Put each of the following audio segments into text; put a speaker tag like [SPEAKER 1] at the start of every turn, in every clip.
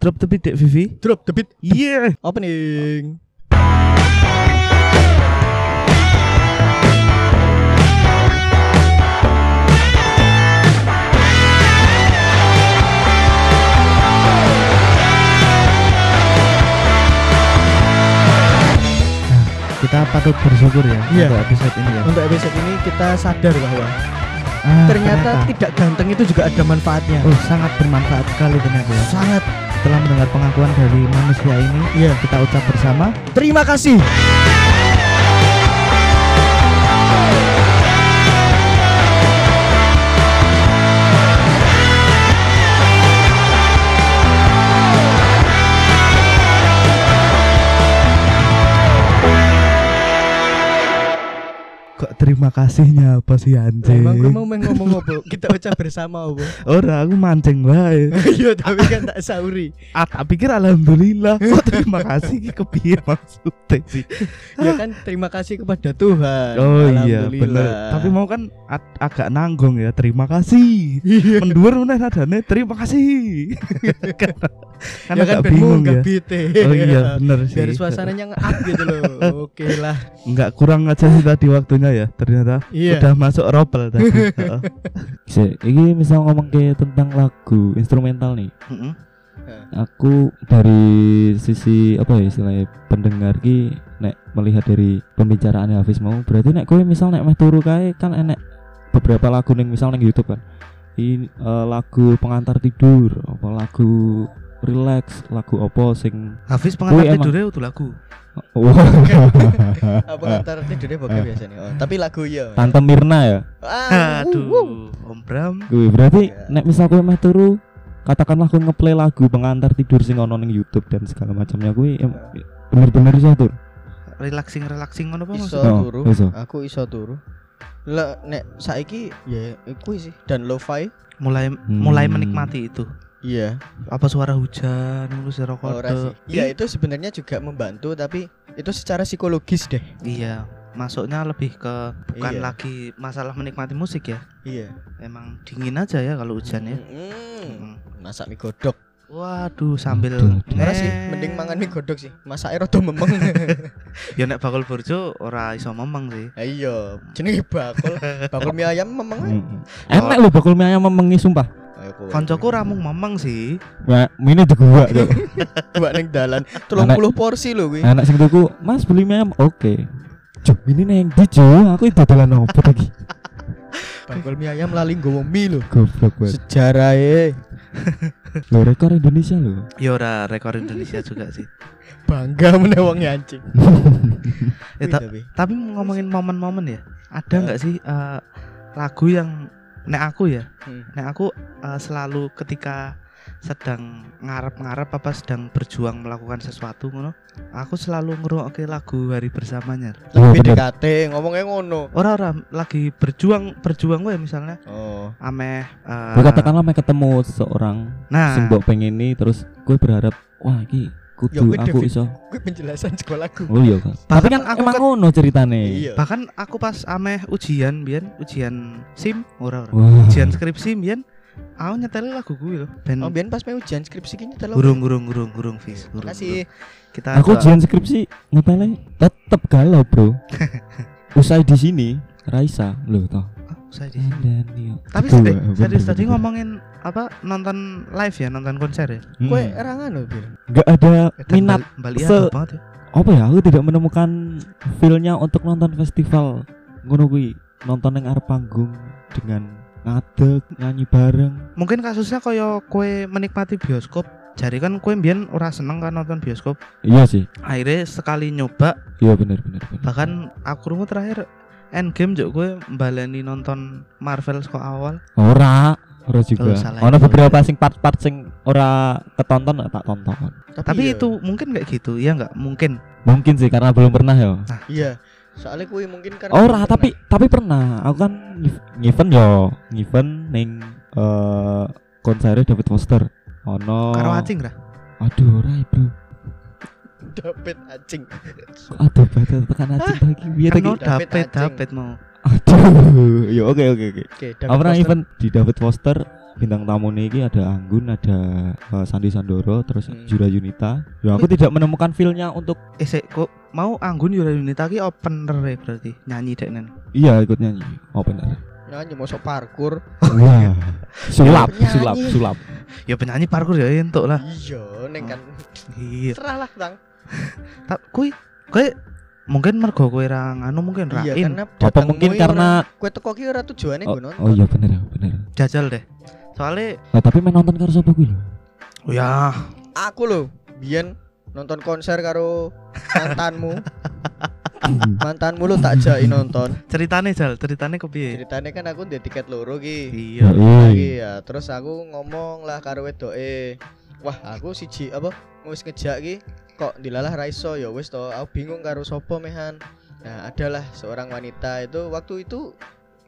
[SPEAKER 1] Drop the beat dek Vivi.
[SPEAKER 2] Drop the beat
[SPEAKER 1] Yeah.
[SPEAKER 2] opening.
[SPEAKER 3] Kita patut bersyukur ya
[SPEAKER 2] Iya.
[SPEAKER 3] untuk episode ini ya.
[SPEAKER 2] Untuk episode ini kita sadar bahwa
[SPEAKER 3] Ah,
[SPEAKER 2] ternyata tidak ganteng itu juga ada manfaatnya.
[SPEAKER 3] oh, sangat bermanfaat sekali ternyata ya.
[SPEAKER 2] Sangat.
[SPEAKER 3] Setelah mendengar pengakuan dari manusia ini,
[SPEAKER 2] Iya.
[SPEAKER 3] kita ucap bersama
[SPEAKER 2] Terima kasih.
[SPEAKER 3] kok terima kasihnya apa sih anjing?
[SPEAKER 2] Emang kamu mau ngomong apa? Kita ucap bersama apa?
[SPEAKER 3] Ora aku mancing wae.
[SPEAKER 2] Iya, tapi kan tak sauri.
[SPEAKER 3] ah, tak pikir alhamdulillah. Kok terima kasih ki kepiye maksudnya sih?
[SPEAKER 2] Ya kan terima kasih kepada Tuhan.
[SPEAKER 3] Oh iya
[SPEAKER 2] Alhamdulillah.
[SPEAKER 3] bener Tapi mau kan at- agak nanggung ya. Terima kasih.
[SPEAKER 2] Iya,
[SPEAKER 3] Mendur meneh nadane. Terima kasih. Karena-
[SPEAKER 2] ya
[SPEAKER 3] Karena
[SPEAKER 2] kan
[SPEAKER 3] agak
[SPEAKER 2] ben
[SPEAKER 3] bingung
[SPEAKER 2] nggak
[SPEAKER 3] ya.
[SPEAKER 2] bete.
[SPEAKER 3] Oh iya bener sih.
[SPEAKER 2] Biar suasananya nge-up gitu loh. Oke lah.
[SPEAKER 3] Enggak kurang aja sih tadi waktunya ya. Ternyata
[SPEAKER 2] Iya.
[SPEAKER 3] udah masuk ropel tadi. Heeh.
[SPEAKER 4] Cek, ini misal ngomong kayak tentang lagu instrumental nih.
[SPEAKER 3] Mm-mm.
[SPEAKER 4] Aku dari sisi apa ya istilahnya pendengar ki nek melihat dari pembicaraan Hafiz mau berarti nek kowe misal nek meh turu kae kan enek beberapa lagu ning misal ning YouTube kan. Ini eh, lagu pengantar tidur, apa lagu relax, lagu apa sing
[SPEAKER 3] Hafiz
[SPEAKER 4] Wih,
[SPEAKER 3] pengantar
[SPEAKER 4] emang.
[SPEAKER 3] tidurnya itu lagu.
[SPEAKER 2] Apa
[SPEAKER 3] Ah.
[SPEAKER 2] ngantar tidurnya bokeh biasanya. Oh, tapi lagu ya.
[SPEAKER 4] Tante Mirna ya.
[SPEAKER 2] Ah, wuh, wuh.
[SPEAKER 3] Aduh, Om Bram.
[SPEAKER 4] Kuwi berarti
[SPEAKER 2] Ya.
[SPEAKER 4] nek misal kowe meh turu, katakanlah kowe ngeplay lagu pengantar tidur sing ono ning YouTube dan segala macamnya kuwi em- bener-bener iso tur.
[SPEAKER 3] relaxing relaxing ngono apa
[SPEAKER 2] Iso
[SPEAKER 3] maksudnya?
[SPEAKER 4] Oh,
[SPEAKER 2] turu.
[SPEAKER 4] iso.
[SPEAKER 2] Aku iso turu. Lah nek saiki ya kuwi sih dan lo-fi.
[SPEAKER 3] Mulai mulai
[SPEAKER 4] Hmm.
[SPEAKER 3] menikmati itu.
[SPEAKER 2] Iya.
[SPEAKER 3] Apa suara hujan, ngurus suara
[SPEAKER 2] Ora sih.
[SPEAKER 3] kode.
[SPEAKER 2] Ya itu sebenarnya juga membantu tapi itu secara psikologis deh.
[SPEAKER 3] Iya, masuknya lebih ke bukan
[SPEAKER 2] Iya.
[SPEAKER 3] lagi masalah menikmati musik ya.
[SPEAKER 2] Iya.
[SPEAKER 3] Emang dingin aja ya kalau hujan ya.
[SPEAKER 2] Mm.
[SPEAKER 3] Mm.
[SPEAKER 2] Masak mie godok.
[SPEAKER 3] Waduh, sambil
[SPEAKER 4] Aduh, aduh.
[SPEAKER 2] Ora sih, Eh, mending mangan mie godok sih. Masake rada memeng.
[SPEAKER 3] Ya nek bakul burjo ora iso memeng sih.
[SPEAKER 2] Ah, Iya, jenenge bakul. Bakul mie ayam memeng.
[SPEAKER 4] Mm. Enak lho bakul mie ayam memengi sumpah.
[SPEAKER 2] Ayo kowe.
[SPEAKER 3] Koncoku ra mung memeng sih.
[SPEAKER 4] Nah, mie di gua tuh.
[SPEAKER 2] Buat ning dalan 30 porsi lho kuwi.
[SPEAKER 4] Anak sing tuku, "Mas beli mie ayam." Oke. Cuk, ini neng di Cuk. aku itu dalan opo lagi.
[SPEAKER 2] Bakul mie ayam lali nggowo mie lho. e.
[SPEAKER 4] Goblok banget.
[SPEAKER 2] Sejarahe
[SPEAKER 4] Lho rekor Indonesia lho.
[SPEAKER 3] Ya ora rekor Indonesia juga sih.
[SPEAKER 2] bangga meneh wong anjing. Iya.
[SPEAKER 3] Eh, ta- tapi ngomongin momen-momen ya. Ada nggak sih eh, lagu yang nek aku ya Nah aku uh, selalu ketika sedang ngarep-ngarep apa sedang berjuang melakukan sesuatu ngono, aku selalu ngeruokke lagu hari bersamanya.
[SPEAKER 4] Iya,
[SPEAKER 2] Lebih
[SPEAKER 4] bener.
[SPEAKER 2] dekate ngomongnya ngono.
[SPEAKER 3] Orang-orang lagi berjuang berjuang gue misalnya
[SPEAKER 2] Oh.
[SPEAKER 3] ameh uh,
[SPEAKER 4] Gue katakanlah mau ketemu seseorang
[SPEAKER 3] nah
[SPEAKER 4] sing mbok pengen ini terus gue berharap wah iki
[SPEAKER 2] Ya,
[SPEAKER 4] kudu
[SPEAKER 2] kuwi
[SPEAKER 4] aku
[SPEAKER 2] defi-
[SPEAKER 4] iso.
[SPEAKER 2] Kuwi penjelasan sekolah lagu.
[SPEAKER 4] Oh iya, Kak. Tapi kan aku emang ngono ceritane.
[SPEAKER 2] Iya.
[SPEAKER 3] bahkan aku pas ameh ujian bian ujian sim ora ora
[SPEAKER 4] Wah.
[SPEAKER 3] ujian skripsi bian aku nyetel lagu gue loh ben
[SPEAKER 2] Oh, biyen pas mau ujian skripsi ki nyetel.
[SPEAKER 3] gurung gurung gurung gurung fis gurung,
[SPEAKER 2] Makasih.
[SPEAKER 3] gurung. kita
[SPEAKER 4] Aku
[SPEAKER 3] doa-
[SPEAKER 4] ujian skripsi ngetele tetep galau, Bro. Usai di sini Raisa lho toh.
[SPEAKER 3] Ah, usai di sini.
[SPEAKER 4] Dan iya.
[SPEAKER 3] tapi
[SPEAKER 4] Dua,
[SPEAKER 3] serius-
[SPEAKER 4] bener,
[SPEAKER 3] serius
[SPEAKER 4] bener,
[SPEAKER 3] tadi
[SPEAKER 4] bener.
[SPEAKER 3] ngomongin apa nonton live ya nonton konser ya
[SPEAKER 4] Mm.
[SPEAKER 2] Kowe ra ngono, Bir.
[SPEAKER 4] nggak ada minat
[SPEAKER 3] Bali
[SPEAKER 4] se-
[SPEAKER 3] se- banget ya.
[SPEAKER 4] apa ya aku tidak menemukan feel-nya untuk nonton festival ngono kuwi nonton yang arep panggung dengan ngadeg nyanyi bareng
[SPEAKER 3] Mungkin kasusnya koyo kue menikmati bioskop. Jadi kan kue mbien ora seneng kan nonton bioskop.
[SPEAKER 4] iya sih
[SPEAKER 3] Akhirnya sekali nyoba
[SPEAKER 4] iya bener bener, bener.
[SPEAKER 3] bahkan aku rungu terakhir Endgame juga gue baleni nonton Marvel saka awal.
[SPEAKER 4] ora ora
[SPEAKER 3] Oh,
[SPEAKER 4] juga
[SPEAKER 3] salah
[SPEAKER 4] ono
[SPEAKER 3] itu.
[SPEAKER 4] beberapa sing part-part sing ora ketonton tak tonton
[SPEAKER 3] Tapi
[SPEAKER 2] iya.
[SPEAKER 3] itu mungkin nggak gitu ya nggak mungkin.
[SPEAKER 4] mungkin sih karena belum pernah ya
[SPEAKER 2] Iya. Soalnya kuwi mungkin kan karena
[SPEAKER 4] ora
[SPEAKER 2] pernah.
[SPEAKER 4] Oh, tapi tapi pernah aku kan ngi- ngiven yo ngiven ning eh konsernya David Foster ono
[SPEAKER 3] Karo acing lah.
[SPEAKER 4] aduh ora bro
[SPEAKER 2] Dapat anjing.
[SPEAKER 4] Aduh, batal tekan acing lagi. Biar
[SPEAKER 3] Kan
[SPEAKER 4] lagi.
[SPEAKER 3] mau
[SPEAKER 2] David
[SPEAKER 3] dapet
[SPEAKER 2] Acing.
[SPEAKER 3] dapet mau.
[SPEAKER 4] Aduh. Ya oke oke oke.
[SPEAKER 2] Oke,
[SPEAKER 4] Apa
[SPEAKER 2] Foster.
[SPEAKER 4] event di David Foster bintang tamu nih iki ada Anggun, ada eh, Sandi Sandoro, terus
[SPEAKER 2] Hmm.
[SPEAKER 4] Jura Yunita. Ya aku tidak menemukan feel-nya untuk
[SPEAKER 3] Eh sik kok mau Anggun Yura Yunita ki opener ya berarti nyanyi dek nen.
[SPEAKER 4] iya ikut nyanyi. Oh benar.
[SPEAKER 2] Nyanyi mosok parkur.
[SPEAKER 4] Wah. sulap,
[SPEAKER 2] Penyanyi.
[SPEAKER 4] sulap, sulap.
[SPEAKER 3] Ya penyanyi parkur ya entuk lah.
[SPEAKER 4] Ah.
[SPEAKER 2] Iya, neng
[SPEAKER 4] Oh,
[SPEAKER 2] kan.
[SPEAKER 3] Iya.
[SPEAKER 2] Serah lah, Tang.
[SPEAKER 3] Tapi kui kowe mungkin mergo kowe ra nganu mungkin ra
[SPEAKER 2] Iya,
[SPEAKER 3] in.
[SPEAKER 2] karena
[SPEAKER 4] Apa mungkin karena
[SPEAKER 2] kowe teko ki ora tujuane
[SPEAKER 4] Oh,
[SPEAKER 2] gue nonton.
[SPEAKER 4] oh iya bener, bener.
[SPEAKER 3] jajal deh. Soalnya
[SPEAKER 4] Nah, tapi main nonton karo sapa kuwi lho?
[SPEAKER 3] oh
[SPEAKER 2] iya.
[SPEAKER 3] ya
[SPEAKER 2] Aku lho, biyen nonton konser karo mantanmu. mantanmu lu tak jai nonton.
[SPEAKER 3] ceritane jal, ceritane kepiye?
[SPEAKER 2] Ceritanya kan aku ndek tiket loro ki.
[SPEAKER 3] Iya.
[SPEAKER 4] Ya,
[SPEAKER 2] Lagi ya, terus aku ngomong lah karo wedoke. Wah, aku siji apa wis ngejak ki kok dilalah ra iso ya wis to. Aku bingung karo sapa mehan. Nah, adalah seorang wanita itu waktu itu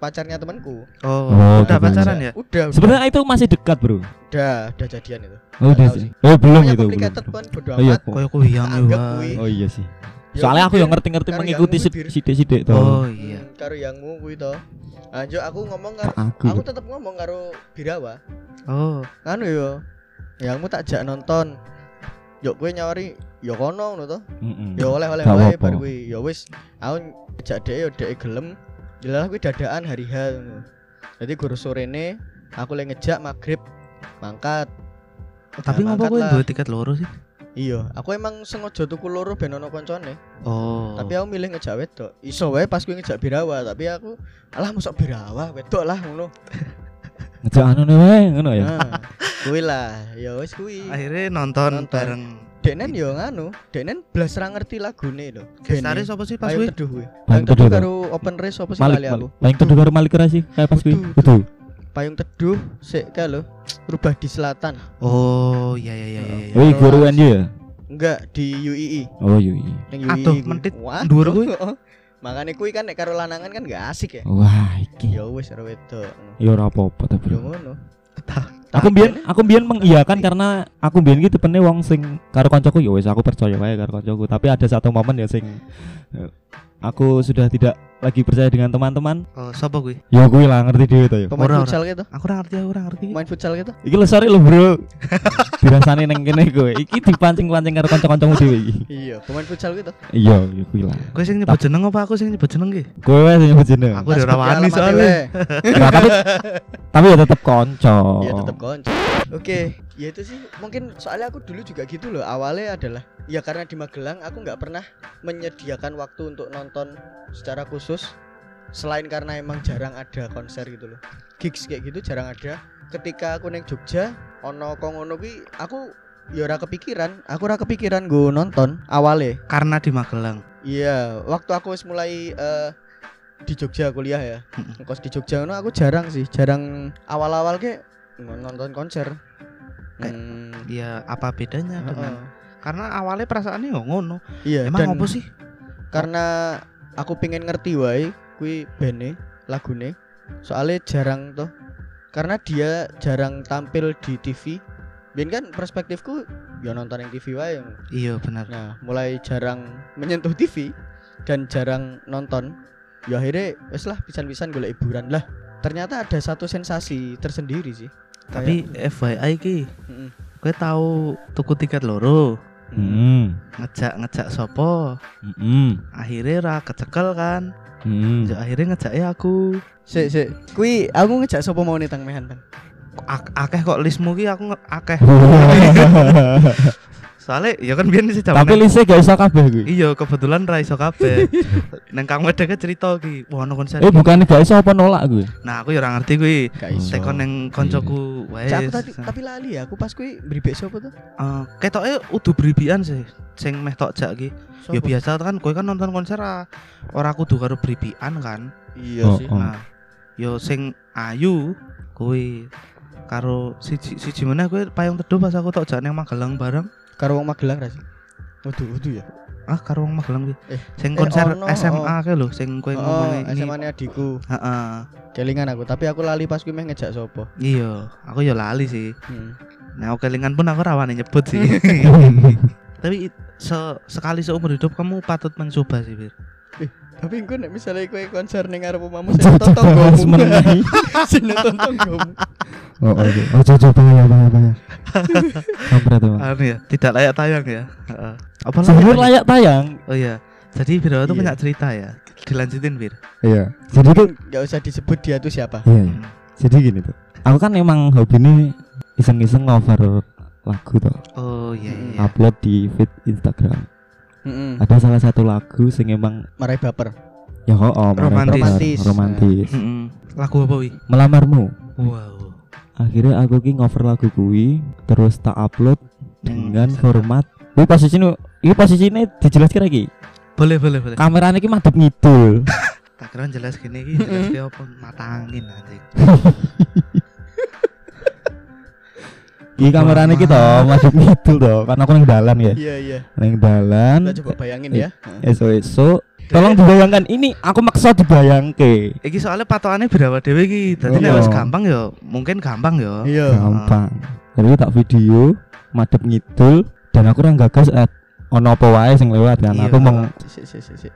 [SPEAKER 2] pacarnya temanku.
[SPEAKER 3] Oh,
[SPEAKER 4] Oh,
[SPEAKER 3] udah
[SPEAKER 4] gitu.
[SPEAKER 3] pacaran ya?
[SPEAKER 2] Udah, udah,
[SPEAKER 4] Sebenarnya itu masih dekat, Bro.
[SPEAKER 2] udah, udah jadian itu.
[SPEAKER 4] Oh, udah
[SPEAKER 2] Nggak tahu
[SPEAKER 4] sih. Oh, belum
[SPEAKER 2] Pokoknya
[SPEAKER 4] itu.
[SPEAKER 2] complicated
[SPEAKER 4] belum.
[SPEAKER 2] pun bodo
[SPEAKER 4] Oh iya,
[SPEAKER 2] amat.
[SPEAKER 4] kok.
[SPEAKER 3] Koyo kuwi yang
[SPEAKER 2] Anggap
[SPEAKER 3] wae.
[SPEAKER 2] kuwi.
[SPEAKER 4] Oh iya sih.
[SPEAKER 2] Ya
[SPEAKER 4] Soalnya aku
[SPEAKER 2] mungkin
[SPEAKER 4] yang ngerti-ngerti
[SPEAKER 2] karena
[SPEAKER 4] mengikuti
[SPEAKER 2] yang
[SPEAKER 4] sid-
[SPEAKER 2] ngedir.
[SPEAKER 4] sidik-sidik toh.
[SPEAKER 3] Oh iya.
[SPEAKER 2] Hmm, karo yangmu kuwi to. Anjo aku ngomong
[SPEAKER 4] Kok
[SPEAKER 2] karo aku
[SPEAKER 4] aku.
[SPEAKER 2] tetep ngomong karo Birawa.
[SPEAKER 3] Oh,
[SPEAKER 2] Anu yo. Yangmu tak jak nonton. Yo kowe nyawari yo kono ngono to.
[SPEAKER 4] Heeh.
[SPEAKER 2] Yo oleh-oleh
[SPEAKER 4] Gak
[SPEAKER 2] wae
[SPEAKER 4] apa-apa.
[SPEAKER 2] bar kuwi. Yo wis aku jak dhek yo dhek gelem. Jelas kuwi dadaan hari H ngono. Jadi guru sorene aku lagi ngejak maghrib mangkat.
[SPEAKER 3] tapi
[SPEAKER 2] Nah,
[SPEAKER 3] ngopo
[SPEAKER 2] mangkat
[SPEAKER 3] kowe
[SPEAKER 2] lah.
[SPEAKER 3] duwe tiket loro sih?
[SPEAKER 2] Iya, aku emang sengaja tuku loro ben ono koncone.
[SPEAKER 3] Oh.
[SPEAKER 2] tapi aku milih ngejak wedok iso wae pas gue ngejak birawa tapi aku alah mosok birawa wedok lah ngono
[SPEAKER 4] Ngejak anu nih, weh, ngono ya.
[SPEAKER 2] nah, kuwi lah ya wis kuwi
[SPEAKER 3] akhirnya nonton,
[SPEAKER 2] Nonton.
[SPEAKER 3] bareng
[SPEAKER 2] Deknen yo nganu, Deknen blas ra ngerti lagune lho.
[SPEAKER 3] Bestari sapa sih pas kuwi?
[SPEAKER 2] Ayo teduh kuwi. Payung
[SPEAKER 4] Payung
[SPEAKER 2] teduh
[SPEAKER 4] Teduh,
[SPEAKER 2] karo open race apa sih
[SPEAKER 4] Malik,
[SPEAKER 2] kali
[SPEAKER 4] Malik.
[SPEAKER 2] aku?
[SPEAKER 4] Paling teduh karo Malik Rasi kayak pas kuwi.
[SPEAKER 2] Betul.
[SPEAKER 4] Betul.
[SPEAKER 2] Payung teduh sik ka lho. Rubah di selatan.
[SPEAKER 3] Oh, iya iya iya iya.
[SPEAKER 4] Oh, guru NU ya?
[SPEAKER 2] Enggak di UII.
[SPEAKER 4] Oh, iya. iya.
[SPEAKER 2] Ning UII.
[SPEAKER 3] Aduh,
[SPEAKER 2] kuwi.
[SPEAKER 3] mentit
[SPEAKER 2] Wah.
[SPEAKER 3] dhuwur kuwi.
[SPEAKER 2] Makane kuwi kan nek karo lanangan kan gak asik ya.
[SPEAKER 4] Wah, iki.
[SPEAKER 2] Ya wis karo wedok.
[SPEAKER 4] Ya ora apa-apa ta,
[SPEAKER 2] Yo
[SPEAKER 4] Bro.
[SPEAKER 2] ngono.
[SPEAKER 4] Aku mbiyen Nah, aku mbiyen mengiyakan karena aku mbiyen iki tipene wong sing karo kancaku ya wis aku percaya wae karo kancaku, tapi ada satu momen ya sing eh, aku sudah tidak lagi percaya dengan teman-teman.
[SPEAKER 3] Oh, sapa kuwi?
[SPEAKER 4] Ya kuwi lah ngerti dhewe ta ya.
[SPEAKER 2] Pemain
[SPEAKER 3] Ora, ora.
[SPEAKER 2] futsal gitu.
[SPEAKER 3] Aku ora ngerti, aku ora ngerti.
[SPEAKER 2] Pemain futsal gitu.
[SPEAKER 4] Iki lesore lho, Bro. Dirasani nang kene kowe. Iki dipancing-pancing karo kanca-kancamu dhewe iki.
[SPEAKER 2] Iya, pemain futsal gitu.
[SPEAKER 4] Iya, ya kuwi lah.
[SPEAKER 3] Kowe sing nyebut jeneng apa aku sing nyebut jeneng ki?
[SPEAKER 4] Kowe wae sing nyebut jeneng.
[SPEAKER 3] Aku udah rawani soalnya.
[SPEAKER 2] soalnya.
[SPEAKER 4] Nah, tapi tapi ya tetep kanca.
[SPEAKER 2] Iya tetap konco. Oke, ya itu sih mungkin soalnya aku dulu juga gitu loh. Awalnya adalah ya karena di Magelang aku nggak pernah menyediakan waktu untuk nonton secara khusus selain karena emang jarang ada konser gitu loh. Gigs kayak gitu jarang ada. Ketika aku neng Jogja, ono kongono kuwi aku ya ora kepikiran, aku ora kepikiran gue nonton awalnya.
[SPEAKER 3] Karena di Magelang.
[SPEAKER 2] Iya, waktu aku wis mulai eh, di Jogja kuliah ya.
[SPEAKER 3] Mm-mm.
[SPEAKER 2] Ngkos di Jogja ngono aku jarang sih, jarang awal-awal ke nonton konser.
[SPEAKER 3] Kayak-
[SPEAKER 2] Hmm,
[SPEAKER 3] Ya apa bedanya dengan
[SPEAKER 2] heeh.
[SPEAKER 3] Karena awalnya perasaannya yo ngono.
[SPEAKER 2] Iya, dan
[SPEAKER 3] Emang ngopo sih?
[SPEAKER 2] karena aku pengen ngerti wae kuwi bene lagune. Soalnya jarang tuh. Karena dia jarang tampil di TV. Ben kan perspektifku ya nonton yang TV wae.
[SPEAKER 3] Iya benar.
[SPEAKER 2] Nah, mulai jarang menyentuh TV dan jarang nonton. Ya akhirnya wes lah pisan-pisan golek hiburan lah. Ternyata ada satu sensasi tersendiri sih.
[SPEAKER 3] Tapi FYI ki,
[SPEAKER 2] Mm-mm.
[SPEAKER 3] kowe tahu tuku tiket loro,
[SPEAKER 4] Heeh.
[SPEAKER 3] ngejak-ngejak sopo,
[SPEAKER 4] Heeh.
[SPEAKER 3] akhirnya ra kecekel kan.
[SPEAKER 2] Hmm.
[SPEAKER 4] Heeh.
[SPEAKER 3] Ya, akhirnya ngejaknya aku.
[SPEAKER 2] Sik sik. Kuwi aku ngejak sapa mau nih Tang Mehan Tang.
[SPEAKER 3] A- akeh kok listmu ki aku nge- akeh.
[SPEAKER 4] Tapi
[SPEAKER 3] Soalnya ya kan biyen sih jaman
[SPEAKER 4] lise gak iso kabeh kuwi.
[SPEAKER 3] Iya, kebetulan ra iso kabeh. Nang Kang Wedeke cerita ki, wah ono konser.
[SPEAKER 2] Oh,
[SPEAKER 4] Eh bukan gak iso apa nolak kuwi.
[SPEAKER 3] Nah, aku ya ora ngerti kuwi.
[SPEAKER 2] Gak
[SPEAKER 4] iso.
[SPEAKER 3] Tekon nang koncoku wae.
[SPEAKER 2] Cak, aku tadi tapi lali ya aku pas kuwi mribek sapa tuh?
[SPEAKER 3] Eh, ketoke udu bribian sih. Sing meh tok jak ki. Ya
[SPEAKER 2] Sapa?
[SPEAKER 3] biasa kan kowe kan nonton konser ah, ora kudu karo bribian kan.
[SPEAKER 2] Iya
[SPEAKER 4] Oh,
[SPEAKER 2] sih.
[SPEAKER 4] oh.
[SPEAKER 3] Nah, yo sing ayu kuwi karo siji siji meneh kowe payung teduh pas aku tok jak nang Magelang bareng.
[SPEAKER 2] Karo wong Magelang ra sih. Waduh, waduh ya.
[SPEAKER 3] Ah, karo wong Magelang kuwi.
[SPEAKER 2] Eh,
[SPEAKER 3] Sing
[SPEAKER 2] eh,
[SPEAKER 3] konser
[SPEAKER 2] ono,
[SPEAKER 3] SMA ke lho, sing kowe
[SPEAKER 2] Oh,
[SPEAKER 3] ngomong iki.
[SPEAKER 2] SMA-ne adikku.
[SPEAKER 3] Heeh.
[SPEAKER 2] Kelingan aku, tapi aku lali pas kuwi meh ngejak sapa.
[SPEAKER 3] Iya, aku ya lali sih.
[SPEAKER 2] Hmm.
[SPEAKER 3] Nah, kelingan pun aku rawan nyebut sih. Tapi se- sekali seumur hidup kamu patut mencoba sih, Bir.
[SPEAKER 2] Tapi engko nek misale kowe konser ning arep omamu sing nonton tonggomu.
[SPEAKER 4] Menengahi.
[SPEAKER 2] Sing nonton tonggomu.
[SPEAKER 1] Oh, oh, oke. oh, coba
[SPEAKER 4] ya,
[SPEAKER 1] bayar, bayar, bayar.
[SPEAKER 4] Kan berat emang.
[SPEAKER 3] Anu ya, tidak layak tayang ya. Heeh. Apa
[SPEAKER 4] Sebenarnya
[SPEAKER 3] namanya?
[SPEAKER 4] layak tayang.
[SPEAKER 3] Oh iya. Jadi Viro itu
[SPEAKER 2] Iya.
[SPEAKER 3] banyak cerita ya. Dilanjutin Vir.
[SPEAKER 1] Iya. Jadi kan,
[SPEAKER 2] nggak usah disebut dia tuh siapa
[SPEAKER 1] iya.
[SPEAKER 3] Hmm.
[SPEAKER 1] iya. Jadi gini tuh.
[SPEAKER 4] Aku kan emang hobi ini iseng-iseng cover lagu tuh.
[SPEAKER 3] Oh iya iya.
[SPEAKER 4] Upload di feed Instagram.
[SPEAKER 2] Mm-mm.
[SPEAKER 4] Ada salah satu lagu sing emang
[SPEAKER 2] marai baper
[SPEAKER 4] ya ho oh,
[SPEAKER 3] Romantis.
[SPEAKER 4] romantis. Iya. romantis.
[SPEAKER 3] Mm-mm. Lagu apa wi?
[SPEAKER 4] Melamarmu.
[SPEAKER 3] Wow.
[SPEAKER 4] Akhirnya aku ki ngover lagu kui terus tak upload dengan
[SPEAKER 3] bisa.
[SPEAKER 4] format. Ini posisi ini, ini posisi ini dijelaskan lagi.
[SPEAKER 3] Boleh boleh boleh.
[SPEAKER 4] Kameranya ki madep ngidul.
[SPEAKER 3] Tak keren jelas gini ki jelas ki apa matangin nanti.
[SPEAKER 4] Iki kamerane iki to, madep ngidul to, karena aku ning dalan ya.
[SPEAKER 2] iya iya
[SPEAKER 4] Ning dalan.
[SPEAKER 2] kita coba bayangin ya
[SPEAKER 4] Esok-esok tolong dibayangkan ini aku maksa
[SPEAKER 2] Iya.
[SPEAKER 4] dibayangke.
[SPEAKER 3] Iki soalnya patokannya berapa dewe ki. Tadi
[SPEAKER 4] Iya.
[SPEAKER 3] nek wis gampang ya, mungkin gampang ya.
[SPEAKER 2] iya
[SPEAKER 4] Gampang. Jadi tak video madep ngidul dan aku ora gagas at ono apa wae sing lewat kan.
[SPEAKER 3] Iya.
[SPEAKER 4] Aku mau
[SPEAKER 2] sik sik sik sik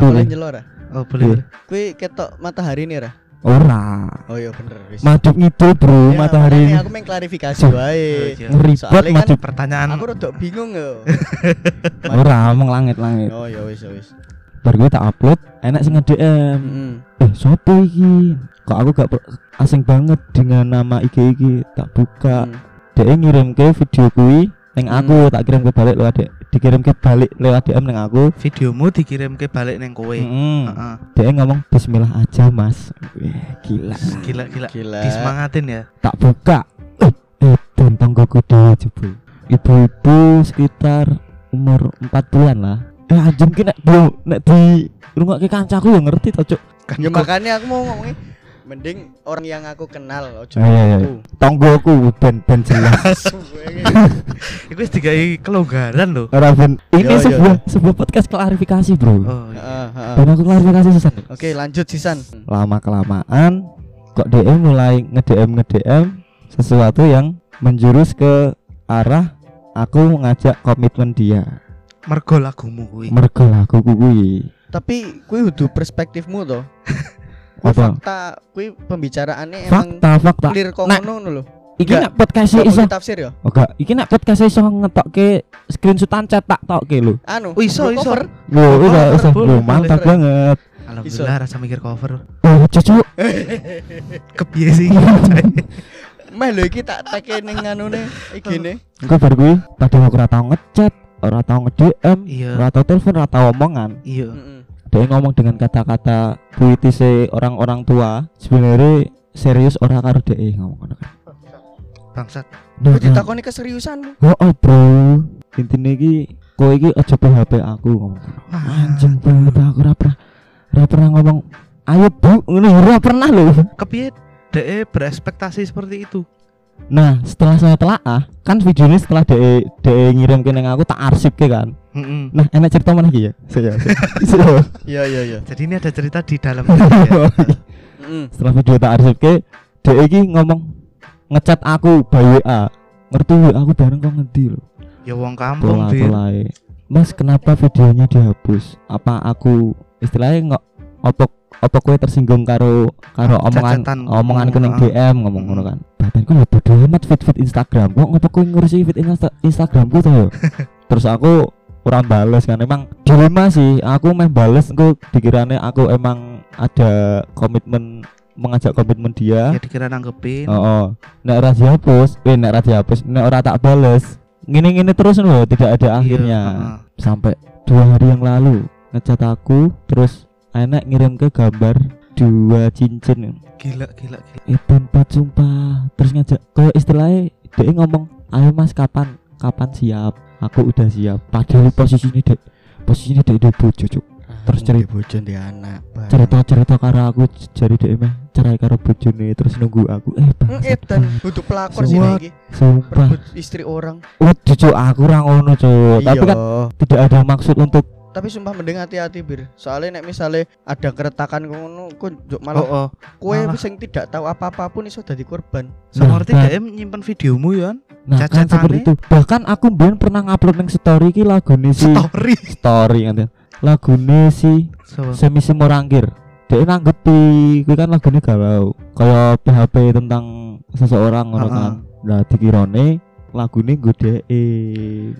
[SPEAKER 4] Boleh.
[SPEAKER 2] Awalnya nyelor ah.
[SPEAKER 3] Oh boleh. boleh.
[SPEAKER 2] Kui ketok matahari nih Ra.
[SPEAKER 4] ora.
[SPEAKER 2] Oh iya bener wis.
[SPEAKER 4] Madep ngidul, Bro,
[SPEAKER 2] Ya,
[SPEAKER 4] matahari.
[SPEAKER 2] makanya Aku main klarifikasi
[SPEAKER 3] Oh,
[SPEAKER 2] wae.
[SPEAKER 3] iya.
[SPEAKER 4] Ngeribet
[SPEAKER 2] Soalnya kan-
[SPEAKER 4] madep
[SPEAKER 3] Pertanyaan
[SPEAKER 2] Aku rada bingung yo.
[SPEAKER 4] ora omong langit-langit.
[SPEAKER 2] Oh ya wis ya wis.
[SPEAKER 4] Bar gue tak upload, enak sing nge-DM.
[SPEAKER 2] Mm-mm.
[SPEAKER 4] eh sopo iki kok aku gak per- asing banget dengan nama IG iki tak buka
[SPEAKER 2] Mm.
[SPEAKER 4] dia ngirim ke video kui neng
[SPEAKER 2] Hmm.
[SPEAKER 4] aku tak kirim ke balik lewat D- dikirim ke balik lewat DM neng aku
[SPEAKER 3] videomu dikirim ke balik neng kowe.
[SPEAKER 4] Heeh.
[SPEAKER 3] Heeh.
[SPEAKER 4] dia ngomong Bismillah aja mas Wih, gila
[SPEAKER 3] Gila gila.
[SPEAKER 2] Gila.
[SPEAKER 3] Disemangatin ya.
[SPEAKER 4] tak buka eh dan tonggoku dhewe jebul ibu-ibu sekitar umur 40-an lah eh anjing ki nek belum nek di rumah ke kancaku ya ngerti tau cuk
[SPEAKER 3] Kan
[SPEAKER 2] Ya
[SPEAKER 3] kok-
[SPEAKER 2] makanya aku mau ngomongin mending orang yang aku kenal ojo
[SPEAKER 4] Ah, iya, iya.
[SPEAKER 2] aku.
[SPEAKER 4] tonggoku ben ben jelas
[SPEAKER 2] Suwe.
[SPEAKER 3] Iku wis digawe kelonggaran lho.
[SPEAKER 4] ora ben ini
[SPEAKER 2] Yo, yo,
[SPEAKER 4] sebuah sebuah podcast klarifikasi bro
[SPEAKER 3] Oh iya.
[SPEAKER 2] Heeh, heeh.
[SPEAKER 4] Dan aku klarifikasi sesan.
[SPEAKER 2] Oke, lanjut sisan.
[SPEAKER 4] Lama kelamaan kok DM mulai nge-DM nge-DM sesuatu yang menjurus ke arah aku ngajak komitmen dia.
[SPEAKER 3] Mergo lagumu kuwi.
[SPEAKER 4] Mergo aku kuwi.
[SPEAKER 2] Tapi kui kudu perspektifmu to. Kui
[SPEAKER 4] Apa?
[SPEAKER 2] Fakta kui pembicaraannya emang
[SPEAKER 4] Fakta fakta.
[SPEAKER 2] clear kok
[SPEAKER 4] Nah,
[SPEAKER 2] ngono ngono lho.
[SPEAKER 4] Iki
[SPEAKER 2] Enggak.
[SPEAKER 4] nek podcast
[SPEAKER 2] Gak
[SPEAKER 4] iso.
[SPEAKER 2] perlu tafsir ya?
[SPEAKER 4] Oh enggak, iki nek podcast iso ngetokke screenshotan cetak tokke lho.
[SPEAKER 2] Anu.
[SPEAKER 3] Oh, iso,
[SPEAKER 2] blue
[SPEAKER 3] iso.
[SPEAKER 2] cover.
[SPEAKER 4] Yo iso
[SPEAKER 3] boleh,
[SPEAKER 4] iso
[SPEAKER 3] boleh,
[SPEAKER 4] Loh, mantap
[SPEAKER 2] boleh.
[SPEAKER 4] banget.
[SPEAKER 3] Alhamdulillah rasa mikir cover.
[SPEAKER 4] Oh cucu.
[SPEAKER 3] Kepiye sih?
[SPEAKER 2] Meh lho iki tak teke ning anune igine.
[SPEAKER 4] Engko bar kuwi tadi aku ora tau ngechat, ora tau nge-DM,
[SPEAKER 3] Iya.
[SPEAKER 4] ora tau telepon, ora tau omongan.
[SPEAKER 3] Iya.
[SPEAKER 2] Heeh.
[SPEAKER 4] dia ngomong dengan kata-kata puitis orang-orang tua sebenarnya serius orang karo dia ngomong ngono kan
[SPEAKER 3] Bangsat.
[SPEAKER 4] Nah,
[SPEAKER 2] Kuwi ditakoni keseriusanmu.
[SPEAKER 4] nah. oh, oh, bro intinya iki kowe iki aja PHP aku ngomong ngono. anjing banget aku ora pernah ora pernah ngomong ayo bu ngono ora pernah lho
[SPEAKER 3] Kepiye dee berespektasi seperti itu?
[SPEAKER 4] nah setelah saya telaah kan videonya setelah dia dia ngirim ke neng aku tak arsip ke kan
[SPEAKER 3] Mm-mm.
[SPEAKER 4] nah enak cerita mana iki ya saya saya
[SPEAKER 2] Iya
[SPEAKER 4] Iya.
[SPEAKER 2] iya iya.
[SPEAKER 3] Jadi ini ada cerita di dalam ya.
[SPEAKER 2] Heeh.
[SPEAKER 4] setelah video tak arsip ke dia iki ngomong ngechat aku by WA ngerti WA aku bareng kok ngendi lho
[SPEAKER 3] Ya wong kampung
[SPEAKER 4] pola
[SPEAKER 3] Bir.
[SPEAKER 4] polae mas kenapa videonya dihapus apa aku istilahnya nggak apa apa kowe tersinggung karo karo omongan
[SPEAKER 3] Cacatan.
[SPEAKER 4] omonganku
[SPEAKER 3] Ah.
[SPEAKER 4] ning DM ngomong ngono kan badanku ya bodo amat fit fit Instagram kok ngapa kowe ngurusi fit Insta Instagramku to yo terus aku kurang bales kan emang dilema sih aku main bales engko dikirane aku emang ada komitmen mengajak komitmen dia
[SPEAKER 3] Ya dikira nanggepin.
[SPEAKER 4] Oh, oh. nek ora dihapus, eh nek ora dihapus, nek ora tak bales. Ngene-ngene terus loh,
[SPEAKER 3] Iya,
[SPEAKER 4] tidak ada akhirnya. Sampai dua hari yang lalu ngecat aku, terus enak ngirim ke gambar dua cincin
[SPEAKER 3] Gila gila gila.
[SPEAKER 4] eh tempat sumpah terus ngajak kayak istilahnya dia ngomong ayo mas kapan kapan siap aku udah siap padahal posisi ini dek posisi ini dek udah bojo Cuk. Terus cari-
[SPEAKER 2] bojo di anak. Bang.
[SPEAKER 4] cerita cerita karo aku j- jari dek meh cerai karo bojone terus nunggu aku eh
[SPEAKER 2] Eh
[SPEAKER 4] bangsat,
[SPEAKER 2] dan
[SPEAKER 4] Bang.
[SPEAKER 2] butuh pelakor sih
[SPEAKER 4] Semua-
[SPEAKER 2] iki.
[SPEAKER 4] sumpah
[SPEAKER 2] Berebut istri orang.
[SPEAKER 4] Oh, cucu aku ora ngono, Cuk.
[SPEAKER 2] Iya.
[SPEAKER 4] Tapi kan tidak ada maksud untuk
[SPEAKER 2] Tapi sumpah mending hati-hati bir. Soalnya nek misalnya ada keretakan ngono, kok njuk
[SPEAKER 3] Oh
[SPEAKER 2] malah
[SPEAKER 3] oh.
[SPEAKER 2] kowe
[SPEAKER 3] malah.
[SPEAKER 2] sing tidak tahu apa-apa pun iso dadi korban.
[SPEAKER 3] Seperti
[SPEAKER 4] Nah,
[SPEAKER 3] dee nyimpen videomu ya.
[SPEAKER 4] nah, kan
[SPEAKER 3] cacatane.
[SPEAKER 4] seperti itu. Bahkan aku mbien pernah ngupload nang story iki lagune
[SPEAKER 3] Hmm.
[SPEAKER 4] si
[SPEAKER 3] Story.
[SPEAKER 4] story kan. Lagune si
[SPEAKER 3] So,
[SPEAKER 4] Semi Simorangkir. Dia nanggepi kuwi kan lagune galau. Kaya PHP tentang seseorang ngono
[SPEAKER 3] Heeh.
[SPEAKER 4] kan. Lah dikirone lagune godheke.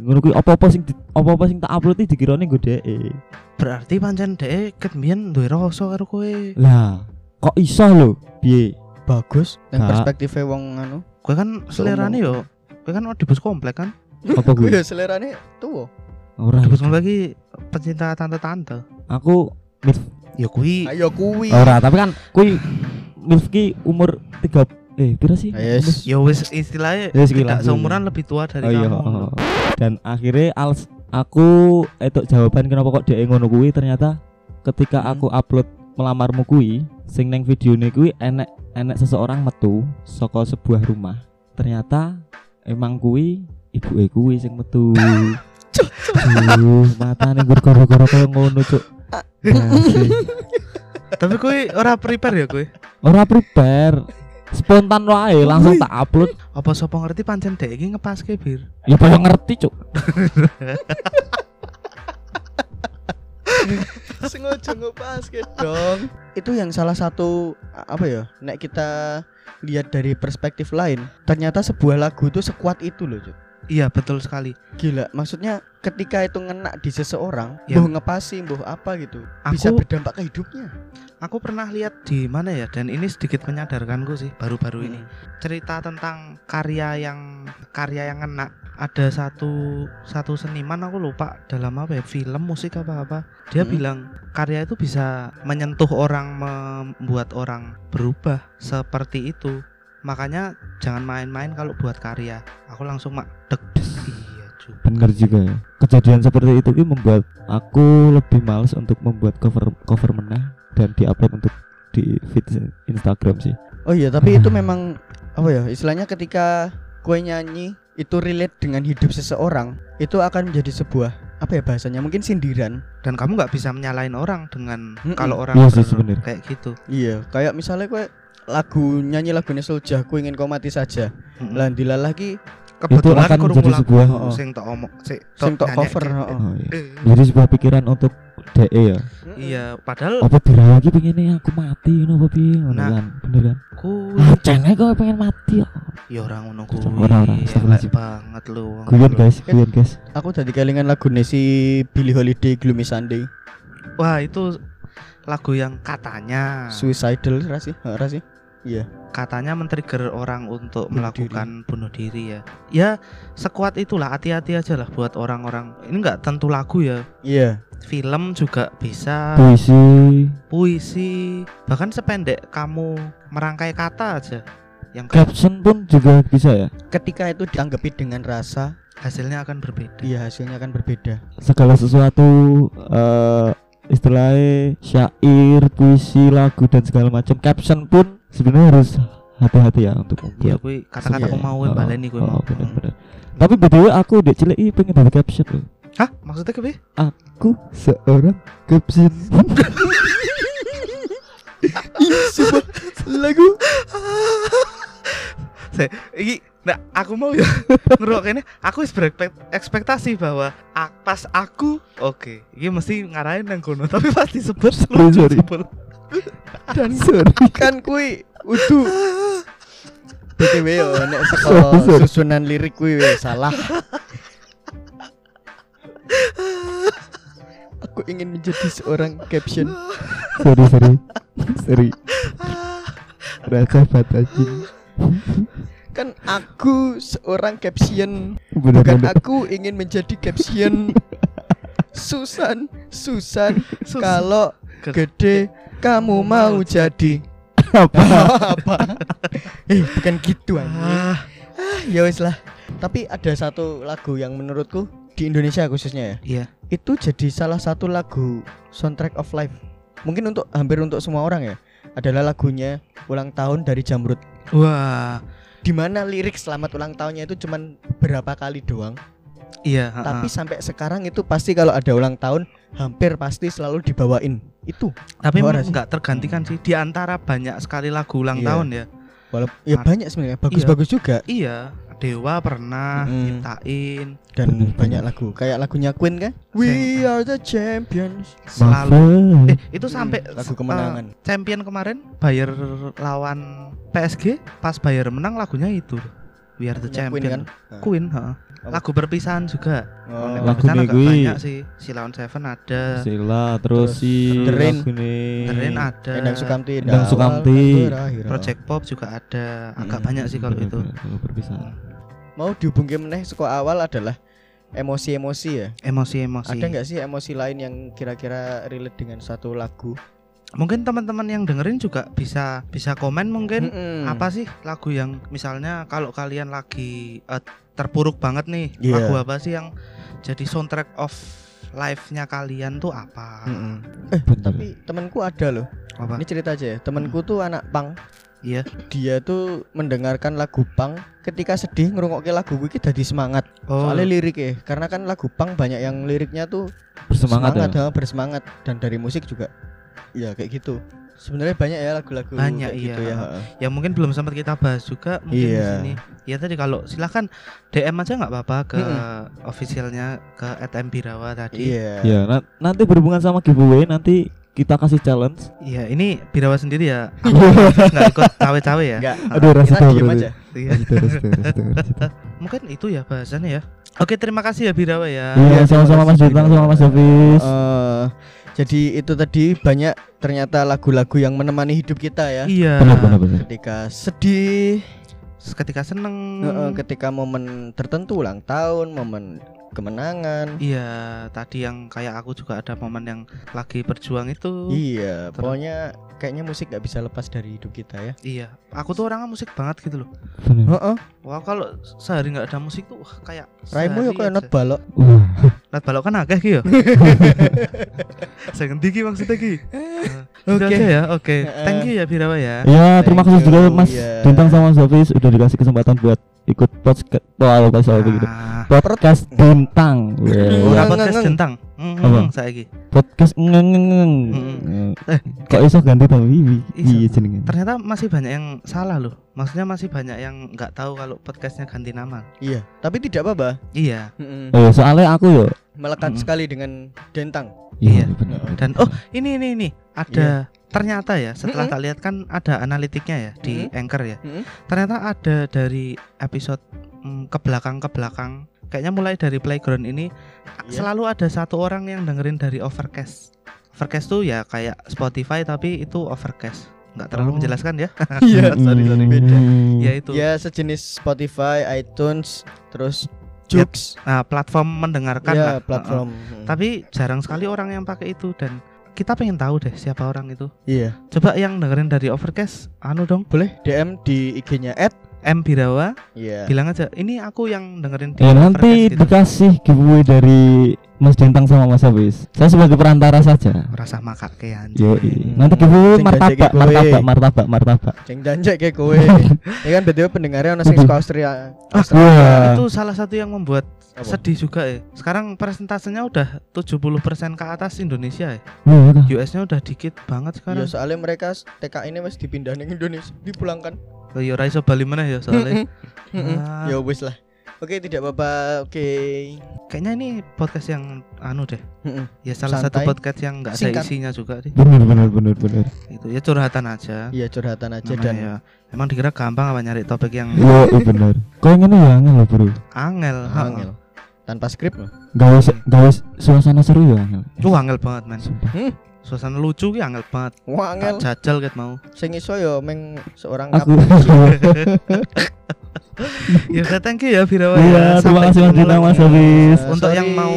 [SPEAKER 4] Ngono kuwi apa-apa sing di- apa-apa sing tak upload iki dikirone godheke.
[SPEAKER 3] berarti pancen dhek ket mbiyen duwe rasa karo kowe
[SPEAKER 4] Lah, kok iso lho? Piye?
[SPEAKER 2] bagus yang
[SPEAKER 4] Gak.
[SPEAKER 2] perspektifnya wong anu
[SPEAKER 3] kowe kan selerane yo kowe kan di bus komplek kan
[SPEAKER 4] Apa
[SPEAKER 2] gue
[SPEAKER 4] kuwi?
[SPEAKER 2] ya selerane tuh
[SPEAKER 4] Ora.
[SPEAKER 3] di bus komplek iki pecinta tante-tante
[SPEAKER 4] Aku
[SPEAKER 3] ya kuwi
[SPEAKER 2] ayo kuwi
[SPEAKER 4] ora, tapi kan kuwi Milf ki umur 3 eh pira sih?
[SPEAKER 2] Ah, Yes.
[SPEAKER 3] ya wis istilahnya
[SPEAKER 4] Ya,
[SPEAKER 3] tidak
[SPEAKER 4] sekilas dulu.
[SPEAKER 3] seumuran lebih tua dari
[SPEAKER 4] Oh iya.
[SPEAKER 3] kamu
[SPEAKER 4] oh. Dan akhirnya als aku itu jawaban kenapa kok dia ngono kuwi ternyata ketika
[SPEAKER 3] Hmm.
[SPEAKER 4] aku upload melamarmu kuwi sing neng videone kuwi enek enek seseorang metu saka sebuah rumah. Ternyata emang kuwi ibuke kuwi sing metu. Duh, matane gurgoro-goro kaya ngono, Cuk. Asli.
[SPEAKER 3] tapi kowe ora prepare ya kowe
[SPEAKER 4] Ora prepare. Spontan wae langsung tak upload.
[SPEAKER 3] apa sapa ngerti pancen dhek iki ngepaske bir
[SPEAKER 4] Ya padha ngerti, Cuk.
[SPEAKER 2] sengaja ngebasket dong itu yang salah satu a- apa ya nek kita lihat dari perspektif lain ternyata sebuah lagu itu sekuat itu loh Cuk.
[SPEAKER 3] iya betul sekali
[SPEAKER 2] gila maksudnya ketika itu ngena di seseorang
[SPEAKER 3] Ya.
[SPEAKER 2] mbuh ngepasi mbuh apa gitu bisa
[SPEAKER 3] aku
[SPEAKER 2] berdampak ke hidupnya
[SPEAKER 3] aku pernah lihat di mana ya dan ini sedikit menyadarkanku sih baru-baru
[SPEAKER 2] Hmm.
[SPEAKER 3] ini cerita tentang karya yang karya yang enak ada satu satu seniman aku lupa dalam apa ya film musik apa apa dia
[SPEAKER 2] Hmm.
[SPEAKER 3] bilang karya itu bisa menyentuh orang membuat orang berubah seperti itu makanya jangan main-main kalau buat karya aku langsung mak deg iya juga
[SPEAKER 4] Bener juga ya. Kejadian seperti itu ki membuat aku lebih males untuk membuat cover cover meneh dan diupload untuk di feed Instagram sih.
[SPEAKER 2] oh iya tapi itu memang apa ya istilahnya ketika kue nyanyi itu relate dengan hidup seseorang itu akan menjadi sebuah apa ya bahasanya mungkin sindiran
[SPEAKER 3] dan kamu nggak bisa menyalahin orang dengan
[SPEAKER 2] Mm-mm.
[SPEAKER 3] kalau orang
[SPEAKER 4] Iya sih,
[SPEAKER 3] ber-
[SPEAKER 4] sebenernya.
[SPEAKER 3] kayak gitu
[SPEAKER 2] iya kayak misalnya kue lagu nyanyi lagunya Soulja aku ingin kau mati saja
[SPEAKER 3] Mm-mm.
[SPEAKER 2] lah dilah lagi
[SPEAKER 3] kebetulan
[SPEAKER 4] akan
[SPEAKER 3] kerungu
[SPEAKER 4] menjadi
[SPEAKER 3] lagu
[SPEAKER 4] sebuah-
[SPEAKER 2] oh.
[SPEAKER 3] sing tak omong sing
[SPEAKER 2] sing tok
[SPEAKER 3] nyanyi-
[SPEAKER 2] cover heeh.
[SPEAKER 4] Oh, iya.
[SPEAKER 3] Eh,
[SPEAKER 4] Jadi sebuah pikiran untuk DE ya.
[SPEAKER 3] iya padahal
[SPEAKER 4] Apa diraya ki pengennya aku mati ngono apa piye ngono
[SPEAKER 3] Nah.
[SPEAKER 4] kan. Bener kan?
[SPEAKER 3] aku
[SPEAKER 4] Ah, cengek kok pengen mati kok.
[SPEAKER 3] ya orang ngono kuwi
[SPEAKER 4] Ora, ora,
[SPEAKER 3] elek
[SPEAKER 4] astagfirullahaladzim.
[SPEAKER 3] banget lu wong.
[SPEAKER 4] Guyon guys, guyon guys.
[SPEAKER 2] aku tadi kelingan lagu si Billie Holiday Gloomy Sunday
[SPEAKER 3] wah itu lagu yang katanya
[SPEAKER 2] suicidal rasi rasi iya
[SPEAKER 3] katanya men-trigger orang untuk
[SPEAKER 2] Bunuh
[SPEAKER 3] melakukan bunuh diri ya ya sekuat itulah hati-hati aja lah buat orang-orang ini nggak tentu lagu ya
[SPEAKER 2] iya
[SPEAKER 3] film juga bisa
[SPEAKER 4] Puisi,
[SPEAKER 3] puisi bahkan sependek kamu merangkai kata aja yang
[SPEAKER 4] caption pun juga bisa ya.
[SPEAKER 2] ketika itu ditanggapi dengan rasa
[SPEAKER 3] hasilnya akan berbeda
[SPEAKER 2] iya hasilnya akan berbeda
[SPEAKER 4] segala sesuatu eh istilahnya syair, puisi, lagu dan segala macam caption pun sebenarnya harus hati-hati ya untuk
[SPEAKER 3] ya
[SPEAKER 4] membuat.
[SPEAKER 3] kui kata-kata
[SPEAKER 2] Iya,
[SPEAKER 3] aku mau
[SPEAKER 4] Oh,
[SPEAKER 3] baleni kui
[SPEAKER 4] oh,
[SPEAKER 3] mau
[SPEAKER 4] bener-bener. Tapi btw aku udah cilik ini pengen dari caption loh.
[SPEAKER 3] hah maksudnya kui
[SPEAKER 4] Aku seorang caption.
[SPEAKER 2] lagu
[SPEAKER 3] Iki nah, aku mau ya ngerokene aku wis berekspektasi bahwa a- pas aku oke iki mesti ngarahin nang kono tapi pas disebut lucu
[SPEAKER 4] sorry.
[SPEAKER 3] sebel.
[SPEAKER 4] Dan sorry.
[SPEAKER 2] kan kui udu BTW yo nek
[SPEAKER 4] Sorry,
[SPEAKER 2] saka
[SPEAKER 4] sorry.
[SPEAKER 2] susunan lirik kui we, salah aku ingin menjadi seorang caption
[SPEAKER 4] sorry sorry sorry. Rasa batasin.
[SPEAKER 2] kan aku seorang caption bukan
[SPEAKER 4] Bener-bener.
[SPEAKER 2] aku ingin menjadi caption Susan Susan
[SPEAKER 3] Sus-
[SPEAKER 2] kalau gede kamu mau jadi
[SPEAKER 4] Apa?
[SPEAKER 2] apa eh bukan gitu anjing
[SPEAKER 3] Ah,
[SPEAKER 2] Ah, ya wis lah tapi ada satu lagu yang menurutku di Indonesia khususnya ya
[SPEAKER 3] Iya.
[SPEAKER 2] itu jadi salah satu lagu soundtrack of life mungkin untuk hampir untuk semua orang ya adalah lagunya ulang tahun dari Jamrut
[SPEAKER 3] wah
[SPEAKER 2] dimana lirik selamat ulang tahunnya itu cuman berapa kali doang
[SPEAKER 3] iya
[SPEAKER 2] tapi
[SPEAKER 3] tapi
[SPEAKER 2] sampai sekarang itu pasti kalau ada ulang tahun hampir pasti selalu dibawain itu
[SPEAKER 3] tapi
[SPEAKER 2] Ora sih. Hmm.
[SPEAKER 3] nggak tergantikan sih di antara banyak sekali lagu ulang
[SPEAKER 2] Iya.
[SPEAKER 3] tahun ya
[SPEAKER 2] walaupun ya
[SPEAKER 3] Ar-
[SPEAKER 2] banyak sebenarnya bagus-bagus juga
[SPEAKER 3] iya Dewa pernah
[SPEAKER 2] Mm.
[SPEAKER 3] nyiptain
[SPEAKER 2] dan
[SPEAKER 4] Bener,
[SPEAKER 2] banyak lagu kayak lagunya Queen kan We are the champions
[SPEAKER 3] selalu eh
[SPEAKER 4] Marvel.
[SPEAKER 3] itu sampai
[SPEAKER 2] Hmm, lagu
[SPEAKER 3] eh,
[SPEAKER 2] kemenangan
[SPEAKER 3] champion kemarin Bayer lawan PSG pas Bayer menang lagunya itu We are the
[SPEAKER 2] Lagunya Queen
[SPEAKER 3] champion
[SPEAKER 2] kan?
[SPEAKER 3] Queen, heeh.
[SPEAKER 2] Apa?
[SPEAKER 3] lagu berpisahan juga
[SPEAKER 2] Oh.
[SPEAKER 4] Lagu
[SPEAKER 3] berpisahan agak
[SPEAKER 4] nih,
[SPEAKER 3] banyak
[SPEAKER 4] kui.
[SPEAKER 3] sih Silaun Seven ada
[SPEAKER 4] Sila terus si
[SPEAKER 2] The Rain.
[SPEAKER 4] lagune.
[SPEAKER 3] The Rain ada
[SPEAKER 2] Endang Sukamti
[SPEAKER 4] Endang
[SPEAKER 2] Dawal
[SPEAKER 4] Sukamti.
[SPEAKER 2] kan berakhir.
[SPEAKER 3] Project Pop juga ada agak
[SPEAKER 2] Mm.
[SPEAKER 3] banyak sih kalau itu
[SPEAKER 4] Kalau perpisahan.
[SPEAKER 2] mau dihubungi meneh suka awal adalah emosi-emosi ya
[SPEAKER 3] emosi-emosi
[SPEAKER 2] ada nggak sih emosi lain yang kira-kira relate dengan satu lagu
[SPEAKER 3] mungkin teman-teman yang dengerin juga bisa bisa komen mungkin
[SPEAKER 2] Mm-mm.
[SPEAKER 3] apa sih lagu yang misalnya kalau kalian lagi eh, terpuruk banget nih
[SPEAKER 2] Iya.
[SPEAKER 3] lagu apa sih yang jadi soundtrack of life-nya kalian tuh apa
[SPEAKER 2] Mm-mm.
[SPEAKER 4] Bener.
[SPEAKER 2] tapi temanku ada loh
[SPEAKER 3] apa
[SPEAKER 2] ini cerita aja ya temanku tuh anak pang
[SPEAKER 3] Iya.
[SPEAKER 2] dia tuh mendengarkan lagu pang ketika sedih ngerungokke lagu iki jadi semangat
[SPEAKER 3] oh
[SPEAKER 2] soalnya liriknya karena kan lagu pang banyak yang liriknya tuh
[SPEAKER 4] Bersemangat ya.
[SPEAKER 2] ha, bersemangat dan dari musik juga ya kayak gitu sebenarnya banyak ya lagu-lagu
[SPEAKER 3] Banyak,
[SPEAKER 2] kayak
[SPEAKER 3] iya.
[SPEAKER 2] gitu ya ha.
[SPEAKER 3] ya mungkin belum sempat kita bahas juga mungkin
[SPEAKER 2] Iya.
[SPEAKER 3] di sini ya tadi kalau silahkan DM aja nggak apa-apa ke
[SPEAKER 2] Mm-mm.
[SPEAKER 3] officialnya ke @mbirawa tadi
[SPEAKER 2] iya
[SPEAKER 4] Ya, na- nanti berhubungan sama giveaway nanti kita kasih challenge.
[SPEAKER 3] Iya ini birawa sendiri ya aku nggak ikut cawe-cawe ya
[SPEAKER 2] enggak
[SPEAKER 1] Aduh rasa
[SPEAKER 2] kita
[SPEAKER 1] tahu
[SPEAKER 2] diem
[SPEAKER 1] berarti.
[SPEAKER 2] aja
[SPEAKER 3] Iya.
[SPEAKER 1] Restu, restu, restu, restu.
[SPEAKER 3] mungkin itu ya bahasannya ya oke terima kasih ya birawa ya
[SPEAKER 4] Iya, sama-sama Mas Bintang sama Mas Davis.
[SPEAKER 2] Eh, jadi itu tadi banyak ternyata lagu-lagu yang menemani hidup kita ya
[SPEAKER 3] iya
[SPEAKER 4] Benar benar benar.
[SPEAKER 2] ketika sedih
[SPEAKER 3] ketika seneng
[SPEAKER 2] eh, ketika momen tertentu ulang tahun momen kemenangan
[SPEAKER 3] iya tadi yang kayak aku juga ada momen yang lagi berjuang itu
[SPEAKER 2] iya
[SPEAKER 3] Ter-
[SPEAKER 2] pokoknya kayaknya musik nggak bisa lepas dari hidup kita ya
[SPEAKER 3] iya aku tuh orangnya musik banget gitu loh
[SPEAKER 4] Benar.
[SPEAKER 2] Heeh,
[SPEAKER 3] wah kalau sehari nggak ada musik tuh wah, kayak
[SPEAKER 2] raimu ya
[SPEAKER 3] sehari
[SPEAKER 2] kayak
[SPEAKER 3] aja.
[SPEAKER 2] not balok.
[SPEAKER 4] Wah,
[SPEAKER 3] Lat balok kan akeh ki yo. Saya ngendi ki maksudnya ki. Oke
[SPEAKER 2] Eh, Oke. Eh,
[SPEAKER 3] aja ya, oke. Thank you ya Birawa ya.
[SPEAKER 4] Ya, terima kasih
[SPEAKER 2] Thank
[SPEAKER 4] juga
[SPEAKER 2] you,
[SPEAKER 4] Mas
[SPEAKER 2] iya.
[SPEAKER 4] Bintang sama Mas Davis udah dikasih kesempatan buat ikut podcast oh, podcast apa gitu.
[SPEAKER 3] Ah,
[SPEAKER 4] Podcast Bintang.
[SPEAKER 2] Iya,
[SPEAKER 3] Ora
[SPEAKER 4] Wah,
[SPEAKER 2] ngeng,
[SPEAKER 3] podcast
[SPEAKER 2] ngeng.
[SPEAKER 3] tentang.
[SPEAKER 4] Apa?
[SPEAKER 3] saiki.
[SPEAKER 4] Podcast ngengengeng.
[SPEAKER 3] Mm-mm.
[SPEAKER 4] Eh, Kok iso ganti tau iki?
[SPEAKER 3] Iso.
[SPEAKER 4] Iya jenenge.
[SPEAKER 3] Ternyata masih banyak yang salah loh. Maksudnya masih banyak yang nggak tahu kalau podcastnya ganti nama.
[SPEAKER 2] iya tapi tidak apa-apa
[SPEAKER 3] Iya.
[SPEAKER 2] Mm-mm.
[SPEAKER 4] Oh, soalnya aku yo.
[SPEAKER 2] melekat
[SPEAKER 3] Mm-mm.
[SPEAKER 2] sekali dengan dentang
[SPEAKER 3] Iya.
[SPEAKER 4] benar.
[SPEAKER 3] Dan oh ini ini ini
[SPEAKER 2] Iya.
[SPEAKER 3] ada ternyata ya setelah tak lihat kan ada analitiknya ya di Anchor ya.
[SPEAKER 2] Mm-mm.
[SPEAKER 3] Ternyata ada dari episode mm, ke belakang ke belakang. Kayaknya mulai dari playground ini
[SPEAKER 2] Iya.
[SPEAKER 3] selalu ada satu orang yang dengerin dari Overcast. Overcast tuh ya kayak Spotify tapi itu Overcast. Nggak terlalu
[SPEAKER 4] Oh.
[SPEAKER 3] menjelaskan ya.
[SPEAKER 2] iya
[SPEAKER 3] sorry, sorry,
[SPEAKER 2] beda.
[SPEAKER 3] ya itu.
[SPEAKER 2] ya sejenis Spotify iTunes terus Joox
[SPEAKER 3] Nah, platform mendengarkan Kan lah.
[SPEAKER 2] ya
[SPEAKER 3] Heeh. Kan.
[SPEAKER 2] platform
[SPEAKER 3] Tapi jarang sekali orang yang pakai itu dan kita pengen tahu deh siapa orang itu.
[SPEAKER 2] iya
[SPEAKER 3] Coba yang dengerin dari Overcast, anu dong,
[SPEAKER 2] boleh DM di IG-nya at
[SPEAKER 3] M Birawa,
[SPEAKER 2] iya
[SPEAKER 3] bilang aja ini aku yang dengerin di
[SPEAKER 4] Ya
[SPEAKER 3] Overcast
[SPEAKER 4] nanti
[SPEAKER 3] gitu.
[SPEAKER 4] dikasih giveaway dari Mas Dintang sama Mas Habis. Saya sebagai perantara saja.
[SPEAKER 3] Rasa makak ke anjing.
[SPEAKER 4] Yo,
[SPEAKER 2] Hmm.
[SPEAKER 4] nanti giveaway
[SPEAKER 2] Sing
[SPEAKER 4] martabak,
[SPEAKER 2] ganti giveaway.
[SPEAKER 4] martabak, martabak, martabak.
[SPEAKER 2] ceng jancek kayak kowe ya kan btw pendengarnya ono sing
[SPEAKER 4] Aduh.
[SPEAKER 2] saka Austria
[SPEAKER 3] Ah,
[SPEAKER 4] Wah.
[SPEAKER 3] Itu salah satu yang membuat
[SPEAKER 2] Apa?
[SPEAKER 3] sedih juga ya. Sekarang presentasenya udah 70% ke atas Indonesia ya.
[SPEAKER 4] Wah, kah?
[SPEAKER 3] US-nya udah dikit banget
[SPEAKER 2] ya
[SPEAKER 3] sekarang.
[SPEAKER 2] soalnya mereka TK ini wis dipindah ning Indonesia kan? dipulangkan
[SPEAKER 3] Oh, Ya ora iso bali meneh ya soalnya.
[SPEAKER 2] Mm-mm.
[SPEAKER 3] Ah.
[SPEAKER 2] ya wis lah oke tidak apa-apa oke
[SPEAKER 3] Kayaknya ini podcast yang anu deh.
[SPEAKER 2] Mm-mm.
[SPEAKER 3] Ya salah
[SPEAKER 2] Santai.
[SPEAKER 3] satu podcast yang nggak ada
[SPEAKER 2] Singkat.
[SPEAKER 3] isinya juga deh.
[SPEAKER 4] Bener bener bener bener.
[SPEAKER 3] Itu ya curhatan aja.
[SPEAKER 2] iya curhatan aja
[SPEAKER 3] Namanya
[SPEAKER 2] dan
[SPEAKER 3] ya. Emang dikira gampang apa nyari topik yang
[SPEAKER 4] Yo, iya bener. Kau yang ini ya angel loh, Bro.
[SPEAKER 3] angel?
[SPEAKER 2] angel tanpa skrip loh
[SPEAKER 4] Gawe gawe suasana seru ya angel.
[SPEAKER 3] Tuh angel banget men.
[SPEAKER 4] Sumpah.
[SPEAKER 2] Hmm?
[SPEAKER 3] Suasana lucu ki angel banget.
[SPEAKER 2] wah
[SPEAKER 3] Tak
[SPEAKER 2] angel
[SPEAKER 3] jajal ket mau.
[SPEAKER 2] sing iso yo meng seorang
[SPEAKER 4] Aku
[SPEAKER 3] ya udah, thank you ya Birawa.
[SPEAKER 4] Iya,
[SPEAKER 3] Sampai
[SPEAKER 4] terima kasih Mas
[SPEAKER 3] ketemu
[SPEAKER 4] Bintang Mas
[SPEAKER 3] lagi.
[SPEAKER 4] Habis.
[SPEAKER 2] Eh,
[SPEAKER 3] Untuk yang
[SPEAKER 2] sorry.
[SPEAKER 3] mau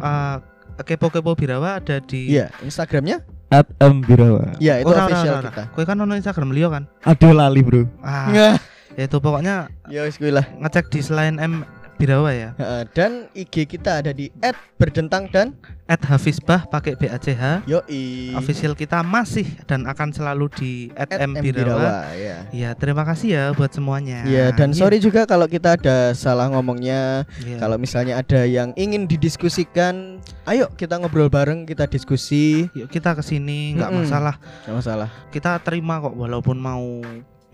[SPEAKER 3] uh, kepo-kepo Birawa ada di
[SPEAKER 2] iya instagramnya
[SPEAKER 4] At M Birawa.
[SPEAKER 2] iya itu
[SPEAKER 3] Ora, ora,
[SPEAKER 2] official
[SPEAKER 3] ora, ora.
[SPEAKER 2] kita Iya.
[SPEAKER 3] Kowe kan ono Instagram Leo kan?
[SPEAKER 4] Aduh lali, Bro.
[SPEAKER 3] Ah,
[SPEAKER 2] Nggak.
[SPEAKER 3] itu pokoknya
[SPEAKER 2] ya wis kuwi lah
[SPEAKER 3] ngecek di selain M Birawa ya.
[SPEAKER 2] Heeh, dan IG kita ada di @berdentang dan
[SPEAKER 3] At Hafizbah pakai BACH.
[SPEAKER 2] yoi
[SPEAKER 3] Official kita masih dan akan selalu di at M Birawa.
[SPEAKER 2] @mbirawa ya
[SPEAKER 3] Ya, terima kasih ya buat semuanya.
[SPEAKER 2] Iya dan
[SPEAKER 3] Iya,
[SPEAKER 2] sorry juga kalau kita ada salah ngomongnya.
[SPEAKER 3] iya.
[SPEAKER 2] Kalau misalnya ada yang ingin didiskusikan, ayo kita ngobrol bareng, kita diskusi.
[SPEAKER 3] Yuk kita kesini nggak
[SPEAKER 2] Mm-mm.
[SPEAKER 3] masalah.
[SPEAKER 2] Gak masalah.
[SPEAKER 3] Kita terima kok walaupun mau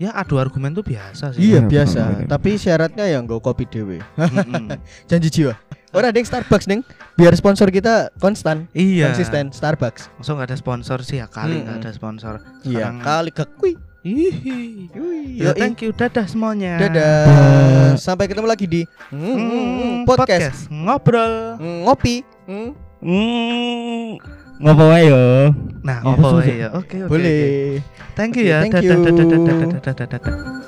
[SPEAKER 3] ya adu argumen tuh biasa sih
[SPEAKER 2] Iya
[SPEAKER 1] Iya,
[SPEAKER 2] biasa,
[SPEAKER 1] bener.
[SPEAKER 2] tapi syaratnya ya nggak kopi dewe.
[SPEAKER 3] Mm-mm.
[SPEAKER 2] Janji jiwa. Ora ding Starbucks ding, biar sponsor kita konstan,
[SPEAKER 3] iya
[SPEAKER 2] konsisten Starbucks.
[SPEAKER 3] langsung nggak ada sponsor sih ya kali nggak
[SPEAKER 2] Mm-mm.
[SPEAKER 3] ada sponsor
[SPEAKER 2] Iya,
[SPEAKER 3] Sekarang-
[SPEAKER 2] kali kekui.
[SPEAKER 3] Hihi. Ya,
[SPEAKER 2] Yo,
[SPEAKER 3] thank you dadah semuanya
[SPEAKER 2] dadah. Sampai ketemu lagi di Hmm,
[SPEAKER 3] Mm,
[SPEAKER 2] podcast,
[SPEAKER 3] podcast ngobrol
[SPEAKER 2] ngopi. Hmm.
[SPEAKER 4] Hmm, ngopo wae yo.
[SPEAKER 3] Nah,
[SPEAKER 4] Ya,
[SPEAKER 3] apa
[SPEAKER 4] terus,
[SPEAKER 3] ya? Oke, oke.
[SPEAKER 2] Iya, Boleh.
[SPEAKER 3] oke. Thank you
[SPEAKER 2] Oke,
[SPEAKER 3] ya.
[SPEAKER 2] thank
[SPEAKER 3] Dadah, dadah,
[SPEAKER 2] you.
[SPEAKER 3] dadah, dadah, dadah, dadah.